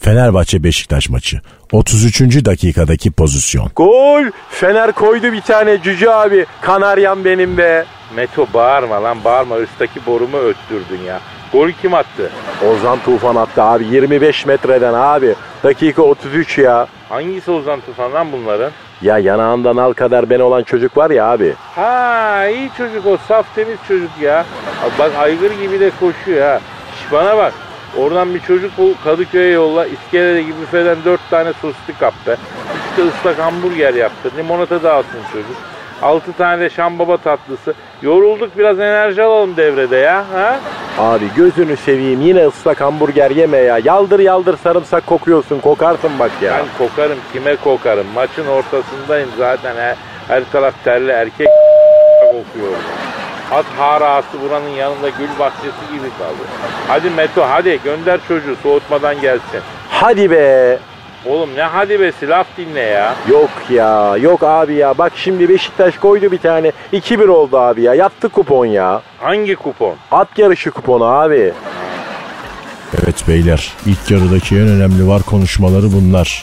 Fenerbahçe Beşiktaş maçı. 33. dakikadaki pozisyon.
Gol! Fener koydu bir tane cüce abi. Kanaryam benim be.
Meto bağırma lan bağırma üstteki borumu öttürdün ya. Golü kim attı?
Ozan Tufan attı abi 25 metreden abi. Dakika 33 ya.
Hangisi Ozan Tufan lan bunların?
Ya yanağından al kadar ben olan çocuk var ya abi.
Ha iyi çocuk o saf temiz çocuk ya. Abi Bak aygır gibi de koşuyor ha. Şş, bana bak. Oradan bir çocuk bul Kadıköy'e yolla. İskelede gibi büfeden dört tane soslu kap be. Üç de ıslak hamburger yaptı. Limonata dağıtsın çocuk. Altı tane de şambaba tatlısı. Yorulduk biraz enerji alalım devrede ya. Ha?
Abi gözünü seveyim yine ıslak hamburger yeme ya. Yaldır yaldır sarımsak kokuyorsun kokarsın bak ya.
Ben kokarım kime kokarım. Maçın ortasındayım zaten. Her, her taraf terli erkek kokuyor. At harası buranın yanında gül bahçesi gibi kaldı. Hadi Meto hadi gönder çocuğu soğutmadan gelsin.
Hadi be.
Oğlum ne hadi be laf dinle ya.
Yok ya yok abi ya. Bak şimdi Beşiktaş koydu bir tane. 2-1 oldu abi ya. Yattı kupon ya.
Hangi kupon?
At yarışı kuponu abi.
Evet beyler ilk yarıdaki en önemli var konuşmaları bunlar.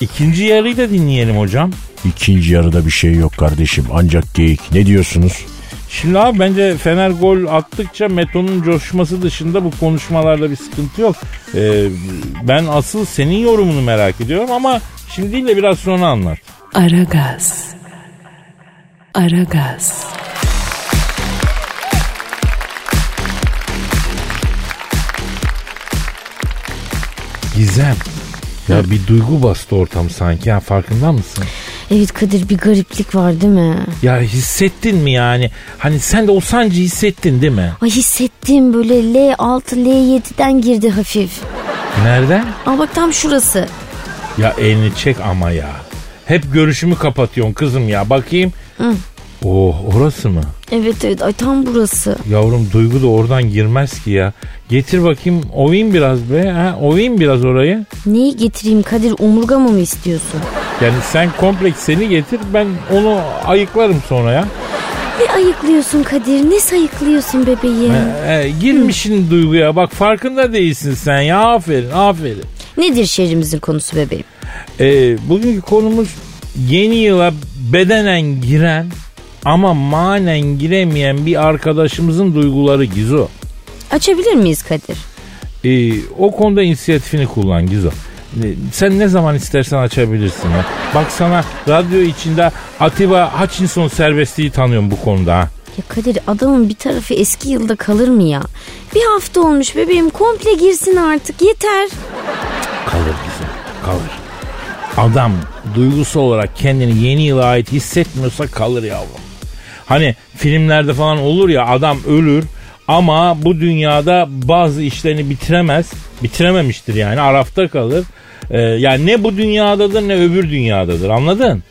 İkinci yarıyı da dinleyelim hocam.
İkinci yarıda bir şey yok kardeşim ancak geyik. Ne diyorsunuz?
Şimdi abi bence Fener gol attıkça Meto'nun coşması dışında bu konuşmalarda bir sıkıntı yok. Ee, ben asıl senin yorumunu merak ediyorum ama şimdi değil de biraz sonra anlat.
Aragaz. Aragaz.
Gizem. Ya bir duygu bastı ortam sanki ha farkında mısın?
Evet Kadir bir gariplik var değil mi?
Ya hissettin mi yani? Hani sen de o sancı hissettin değil mi?
Ay hissettim böyle L6 L7'den girdi hafif.
Nereden?
Aa bak tam şurası.
Ya elini çek ama ya. Hep görüşümü kapatıyorsun kızım ya. Bakayım. Oh orası mı?
Evet evet ay tam burası.
Yavrum duygu da oradan girmez ki ya. Getir bakayım ovayım biraz be. Ha, ovayım biraz orayı.
Neyi getireyim Kadir omurgamı mı istiyorsun?
Yani sen kompleks seni getir ben onu ayıklarım sonra ya.
Ne ayıklıyorsun Kadir ne sayıklıyorsun bebeğim?
Ee, girmişin duyguya bak farkında değilsin sen ya aferin aferin.
Nedir şehrimizin konusu bebeğim?
Ee, bugünkü konumuz yeni yıla bedenen giren ama manen giremeyen bir arkadaşımızın duyguları Gizo.
Açabilir miyiz Kadir?
Ee, o konuda inisiyatifini kullan Gizo. Ee, Sen ne zaman istersen açabilirsin. Ya. Bak sana radyo içinde Atiba Hutchinson serbestliği tanıyorum bu konuda. Ha.
Ya Kadir adamın bir tarafı eski yılda kalır mı ya? Bir hafta olmuş bebeğim komple girsin artık yeter.
Kalır Gizo kalır. Adam duygusal olarak kendini yeni yıla ait hissetmiyorsa kalır yavrum. Hani filmlerde falan olur ya adam ölür ama bu dünyada bazı işlerini bitiremez. Bitirememiştir yani arafta kalır. Ee, yani ne bu dünyadadır ne öbür dünyadadır anladın?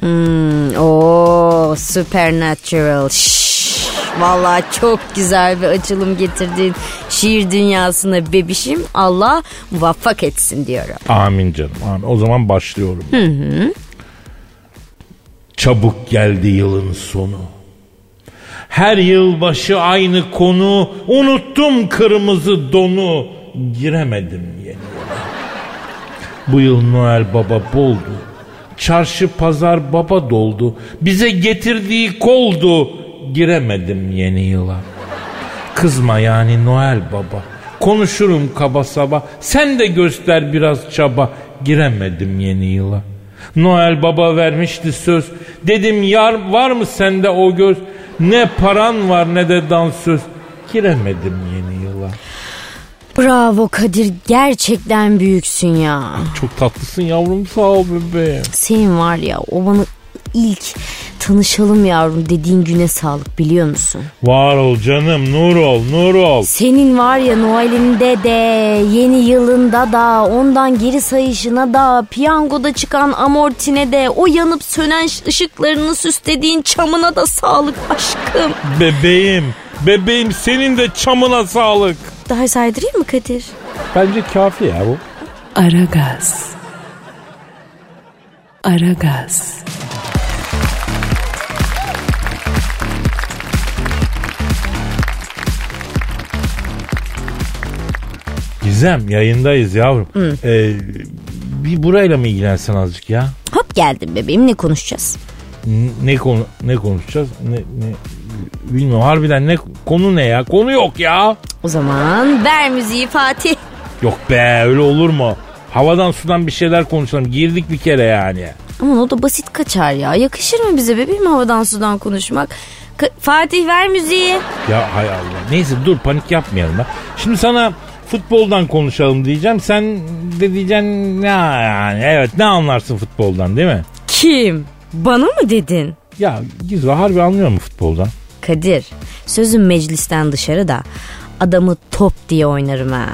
Hmm, o supernatural. Şşş, Vallahi çok güzel bir açılım getirdin. Şiir dünyasına bebişim Allah muvaffak etsin diyorum.
Amin canım amin. O zaman başlıyorum. Çabuk geldi yılın sonu. Her yıl başı aynı konu. Unuttum kırmızı donu. Giremedim yeni yıla. Bu yıl Noel Baba boldu. Çarşı pazar baba doldu. Bize getirdiği koldu. Giremedim yeni yıla. Kızma yani Noel Baba. Konuşurum kaba saba. Sen de göster biraz çaba. Giremedim yeni yıla. Noel Baba vermişti söz. Dedim yar var mı sende o göz? Ne paran var ne de dansöz. Giremedim yeni yıla.
Bravo Kadir gerçekten büyüksün ya.
Çok tatlısın yavrum sağ ol bebeğim.
Senin var ya o bana ilk tanışalım yavrum dediğin güne sağlık biliyor musun?
Var ol canım nur ol nur ol.
Senin var ya Noel'inde de yeni yılında da ondan geri sayışına da piyangoda çıkan amortine de o yanıp sönen ş- ışıklarını süslediğin çamına da sağlık aşkım.
Bebeğim bebeğim senin de çamına sağlık.
Daha saydırayım mı Kadir?
Bence kafi ya bu.
Aragaz. Aragaz.
Gizem yayındayız yavrum. Ee, bir burayla mı ilgilensen azıcık ya?
Hop geldim bebeğim ne konuşacağız?
N- Ne konu ne konuşacağız? Ne, ne bilmiyorum harbiden ne konu ne ya? Konu yok ya.
O zaman ver müziği Fatih.
Yok be öyle olur mu? Havadan sudan bir şeyler konuşalım. Girdik bir kere yani.
Aman o da basit kaçar ya. Yakışır mı bize bebeğim havadan sudan konuşmak? Ka- Fatih ver müziği.
Ya hay Allah. Neyse dur panik yapmayalım. Ha. Şimdi sana futboldan konuşalım diyeceğim. Sen de diyeceksin ne yani evet ne anlarsın futboldan değil mi?
Kim? Bana mı dedin?
Ya Gizve harbi anlıyor mu futboldan?
Kadir sözün meclisten dışarı da adamı top diye oynarım ha.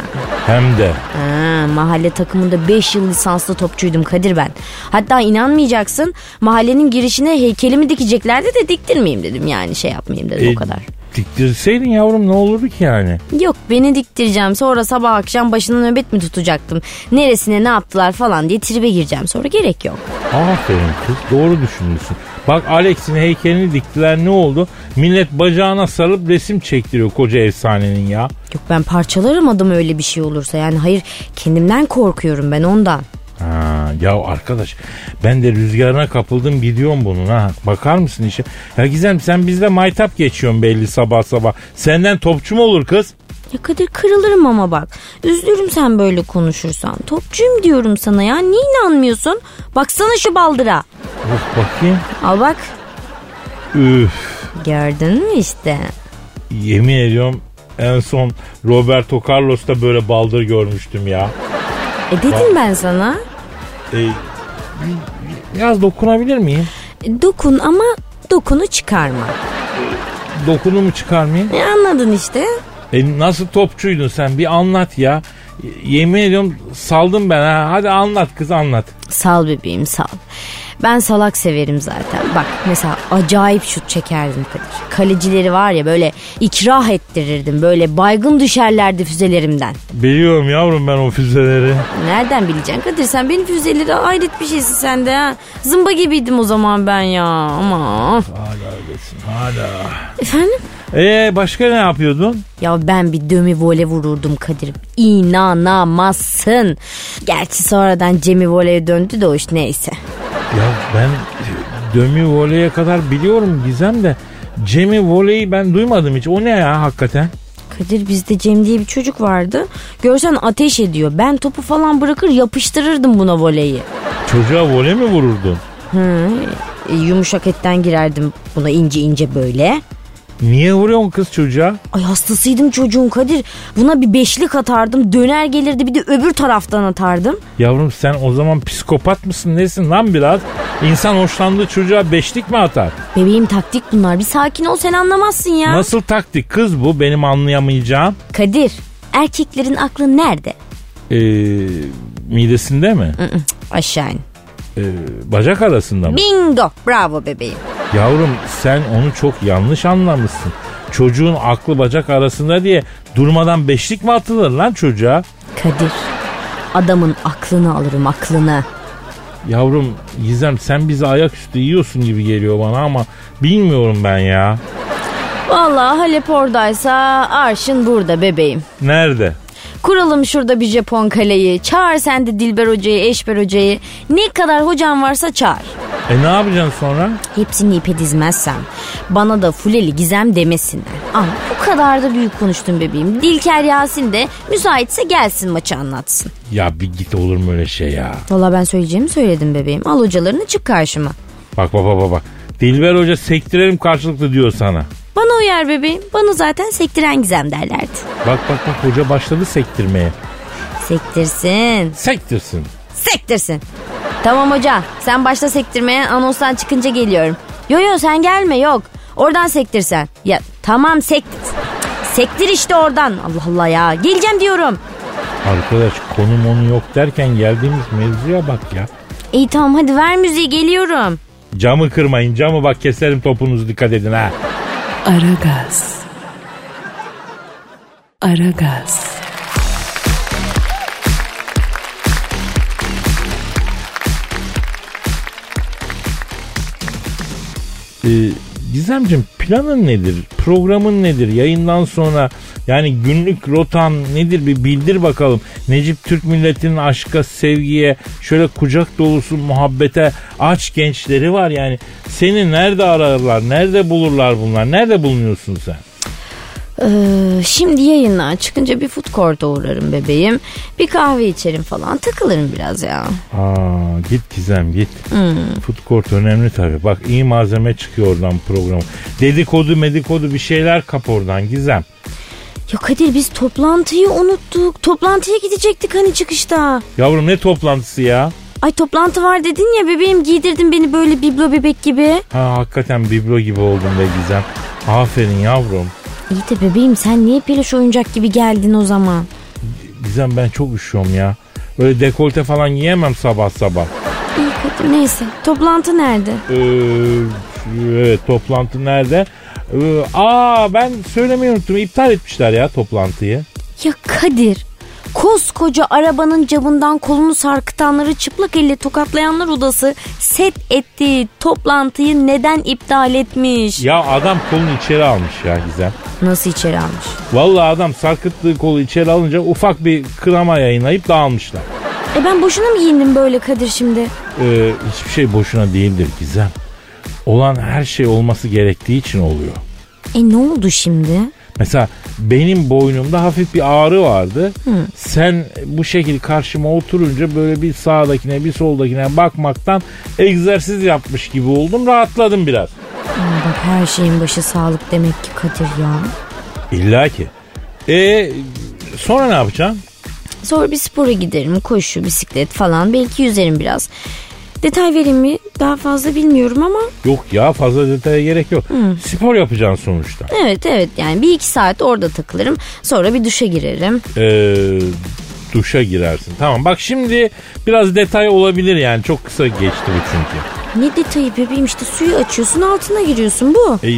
Hem de
Ha, mahalle takımında 5 yıl lisanslı topçuydum Kadir ben. Hatta inanmayacaksın mahallenin girişine heykelimi dikeceklerdi de diktirmeyeyim dedim yani şey yapmayayım dedim
E,
o kadar.
Diktirseydin yavrum ne olurdu ki yani?
Yok beni diktireceğim sonra sabah akşam başına nöbet mi tutacaktım? Neresine ne yaptılar falan diye tribe gireceğim sonra gerek yok.
Aferin kız doğru düşünmüşsün. Bak Alex'in heykelini diktiler ne oldu? Millet bacağına sarılıp resim çektiriyor koca efsanenin ya.
Yok ben parçalarım adamı öyle bir şey olursa yani hayır kendimden korkuyorum ben ondan.
Ha, ya arkadaş ben de rüzgarına kapıldım gidiyorum bunun ha. Bakar mısın işe? Ya Gizem sen bizde maytap geçiyorsun belli sabah sabah. Senden topçu mu olur kız?
Ya Kadir kırılırım ama bak. Üzülürüm sen böyle konuşursan. Topçuyum diyorum sana ya. Niye inanmıyorsun? Baksana şu baldıra.
Of bakayım.
Al bak.
Üf
Gördün mü işte?
yemin ediyorum en son Roberto Carlos'ta böyle baldır görmüştüm ya.
E dedim ben sana.
E, biraz dokunabilir miyim?
E, Dokun ama dokunu çıkarma.
Dokunu mu çıkarmayayım?
E anladın işte.
E nasıl topçuydun sen bir anlat ya. Y- Yemin ediyorum saldım ben ha. Hadi anlat kız anlat.
Sal bebeğim sal. Ben salak severim zaten. Bak mesela acayip şut çekerdim Kadir. Kalecileri var ya böyle ikrah ettirirdim. Böyle baygın düşerlerdi füzelerimden.
Biliyorum yavrum ben o füzeleri.
Nereden bileceksin Kadir sen benim füzeleri hayret bir şeysin sen de ha. Zımba gibiydim o zaman ben ya ama.
Hala.
Efendim?
E başka ne yapıyordun?
Ya ben bir dömi vole vururdum Kadir. İnanamazsın. Gerçi sonradan Cemi voleye döndü de o iş neyse.
Ya ben dömü voleye kadar biliyorum Gizem de. Cem'i voleyi ben duymadım hiç. O ne ya hakikaten?
Kadir bizde Cem diye bir çocuk vardı. Görsen ateş ediyor. Ben topu falan bırakır yapıştırırdım buna voleyi.
Çocuğa voley mi vururdun?
Hı. E, yumuşak etten girerdim buna ince ince böyle.
Niye vuruyorsun kız çocuğa?
Ay hastasıydım çocuğun Kadir. Buna bir beşlik atardım. Döner gelirdi bir de öbür taraftan atardım.
Yavrum sen o zaman psikopat mısın nesin lan biraz? İnsan hoşlandığı çocuğa beşlik mi atar?
Bebeğim taktik bunlar. Bir sakin ol sen anlamazsın ya.
Nasıl taktik kız bu benim anlayamayacağım?
Kadir erkeklerin aklı nerede?
Ee, e, Midesinde mi?
Aşağı in.
Ee, bacak arasında mı?
Bingo. Bravo bebeğim.
Yavrum sen onu çok yanlış anlamışsın. Çocuğun aklı bacak arasında diye durmadan beşlik mi atılır lan çocuğa?
Kadir. Adamın aklını alırım aklını.
Yavrum Gizem sen bizi ayaküstü yiyorsun gibi geliyor bana ama bilmiyorum ben ya.
Vallahi Halep oradaysa arşın burada bebeğim.
Nerede?
Kuralım şurada bir Japon kaleyi. Çağır sen de Dilber Hoca'yı, Eşber Hoca'yı. Ne kadar hocan varsa çağır.
E ne yapacaksın sonra?
Hepsini ipe dizmezsem bana da fuleli gizem demesinler. Ama bu kadar da büyük konuştun bebeğim. Dilker Yasin de müsaitse gelsin maçı anlatsın.
Ya bir git olur mu öyle şey ya?
Valla ben söyleyeceğimi söyledim bebeğim. Al hocalarını çık karşıma.
Bak bak bak bak, bak. Dilber Hoca sektirelim karşılıklı diyor sana.
Bana uyar bebeğim. Bana zaten sektiren gizem derlerdi.
Bak bak bak hoca başladı sektirmeye.
Sektirsin.
Sektirsin.
Sektirsin. Tamam hoca. Sen başta sektirmeye anonstan çıkınca geliyorum. Yo yo sen gelme yok. Oradan sektirsen. Ya tamam sektir. Sektir işte oradan. Allah Allah ya. Geleceğim diyorum.
Arkadaş konum onu yok derken geldiğimiz mevzuya bak ya.
İyi tamam hadi ver müziği geliyorum.
Camı kırmayın camı bak keserim topunuzu dikkat edin ha.
Aragaz. Aragaz.
Ee, Gizemciğim planın nedir? Programın nedir? Yayından sonra yani günlük rotan nedir bir bildir bakalım. Necip Türk milletinin aşka, sevgiye, şöyle kucak dolusu muhabbete aç gençleri var yani. Seni nerede ararlar? Nerede bulurlar bunlar? Nerede bulunuyorsun sen?
Ee, şimdi yayından çıkınca bir food court'a uğrarım bebeğim. Bir kahve içerim falan takılırım biraz ya.
Aa, git Gizem git. Food court önemli tabii. Bak iyi malzeme çıkıyor oradan programı. Dedikodu medikodu bir şeyler kap oradan Gizem.
Ya Kadir biz toplantıyı unuttuk. Toplantıya gidecektik hani çıkışta.
Yavrum ne toplantısı ya?
Ay toplantı var dedin ya bebeğim giydirdin beni böyle biblo bebek gibi.
Ha hakikaten biblo gibi oldun be Gizem. Aferin yavrum.
İyi de bebeğim sen niye peluş oyuncak gibi geldin o zaman?
Gizem ben çok üşüyorum ya. Öyle dekolte falan giyemem sabah sabah.
İyi Kadir neyse toplantı nerede?
Ee, evet toplantı nerede? Ee, aa ben söylemeyi unuttum. İptal etmişler ya toplantıyı.
Ya Kadir koskoca arabanın camından kolunu sarkıtanları çıplak elle tokatlayanlar odası set ettiği toplantıyı neden iptal etmiş?
Ya adam kolunu içeri almış ya Gizem.
Nasıl içeri almış?
Vallahi adam sarkıttığı kolu içeri alınca ufak bir kınama yayınlayıp dağılmışlar.
E ben boşuna mı giyindim böyle Kadir şimdi?
Ee, hiçbir şey boşuna değildir Gizem. Olan her şey olması gerektiği için oluyor.
E ne oldu şimdi?
Mesela benim boynumda hafif bir ağrı vardı. Sen bu şekil karşıma oturunca böyle bir sağdakine bir soldakine bakmaktan egzersiz yapmış gibi oldum. Rahatladım biraz.
Aa, bak her şeyin başı sağlık demek ki Kadir ya.
İlla ki. E sonra ne yapacaksın?
Sonra bir spora giderim koşu bisiklet falan belki yüzerim biraz. Detay vereyim mi? Daha fazla bilmiyorum ama
Yok ya fazla detaya gerek yok. Spor yapacaksın sonuçta.
evet evet yani bir iki saat orada takılırım. Sonra bir duşa girerim.
Ee, duşa girersin. Tamam bak şimdi biraz detay olabilir yani. Çok kısa geçti bu çünkü.
Ne detayı bebeğim işte suyu açıyorsun altına giriyorsun bu.
E,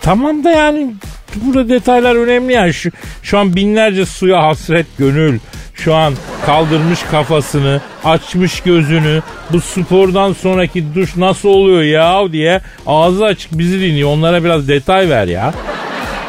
tamam da yani burada detaylar önemli yani. Şu, şu an binlerce suya hasret gönül. Şu an kaldırmış kafasını, açmış gözünü. Bu spordan sonraki duş nasıl oluyor ya diye ağzı açık bizi dinliyor. Onlara biraz detay ver ya.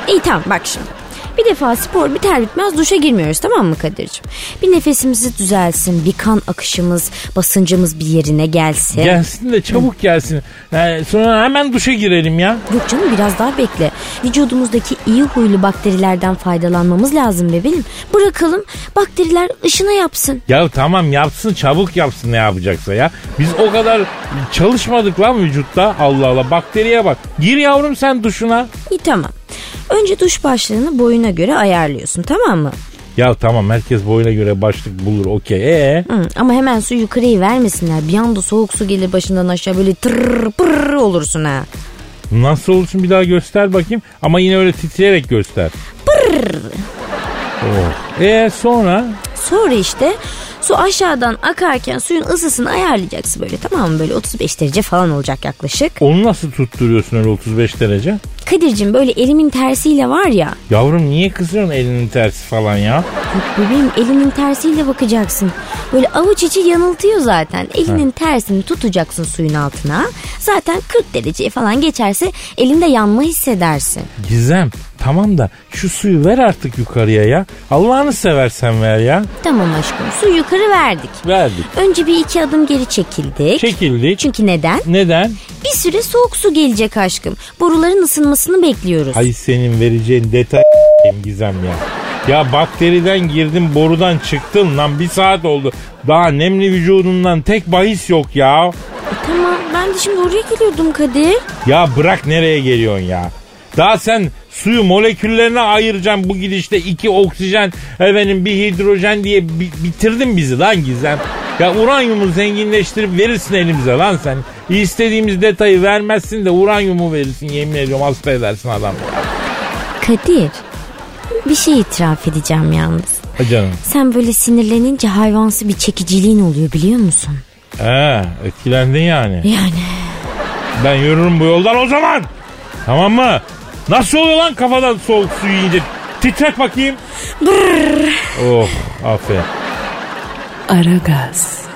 İyi tamam bak şimdi. Bir defa spor biter bitmez duşa girmiyoruz tamam mı Kadir'cim? Bir nefesimizi düzelsin, bir kan akışımız, basıncımız bir yerine gelsin.
Gelsin de çabuk gelsin. Yani sonra hemen duşa girelim ya.
Yok canım biraz daha bekle. Vücudumuzdaki iyi huylu bakterilerden faydalanmamız lazım bebeğim. Bırakalım bakteriler ışına yapsın.
Ya tamam yapsın çabuk yapsın ne yapacaksa ya. Biz o kadar çalışmadık lan vücutta. Allah Allah bakteriye bak. Gir yavrum sen duşuna.
İyi tamam. Önce duş başlığını boyuna göre ayarlıyorsun tamam mı?
Ya tamam herkes boyuna göre başlık bulur okey. Ee?
Hı, ama hemen su yukarıyı vermesinler. Bir anda soğuk su gelir başından aşağı böyle tırr pırr olursun ha.
Nasıl olsun bir daha göster bakayım. Ama yine öyle titreyerek göster. Oh. Ee sonra?
Sonra işte Su aşağıdan akarken suyun ısısını ayarlayacaksın böyle tamam mı? Böyle 35 derece falan olacak yaklaşık.
Onu nasıl tutturuyorsun öyle 35 derece?
Kadir'cim böyle elimin tersiyle var ya.
Yavrum niye kızıyorsun elinin tersi falan ya?
Yok bebeğim elinin tersiyle bakacaksın. Böyle avuç içi yanıltıyor zaten. Elinin tersini tutacaksın suyun altına. Zaten 40 dereceye falan geçerse elinde yanma hissedersin.
Gizem tamam da şu suyu ver artık yukarıya ya. Allah'ını seversen ver ya.
Tamam aşkım suyu yukarı verdik.
Verdik.
Önce bir iki adım geri çekildik.
Çekildik.
Çünkü neden?
Neden?
Bir süre soğuk su gelecek aşkım. Boruların ısınmasını bekliyoruz.
Ay senin vereceğin detay Gizem ya. Ya bakteriden girdin borudan çıktın lan bir saat oldu. Daha nemli vücudundan tek bahis yok ya.
Tamam ben de şimdi oraya geliyordum Kadir.
Ya bırak nereye geliyorsun ya? Daha sen suyu moleküllerine ayıracaksın bu gidişte iki oksijen efendim bir hidrojen diye bi- bitirdin bizi lan Gizem. Ya uranyumu zenginleştirip verirsin elimize lan sen. İstediğimiz detayı vermezsin de uranyumu verirsin yemin ediyorum hasta edersin adam.
Kadir bir şey itiraf edeceğim yalnız.
Ha canım.
Sen böyle sinirlenince hayvansı bir çekiciliğin oluyor biliyor musun?
He etkilendin yani.
Yani
Ben yürürüm bu yoldan o zaman. Tamam mı? Nasıl oluyor lan kafadan soğuk suyu yiyince? Titrek bakayım. Oh aferin.
Aragaz.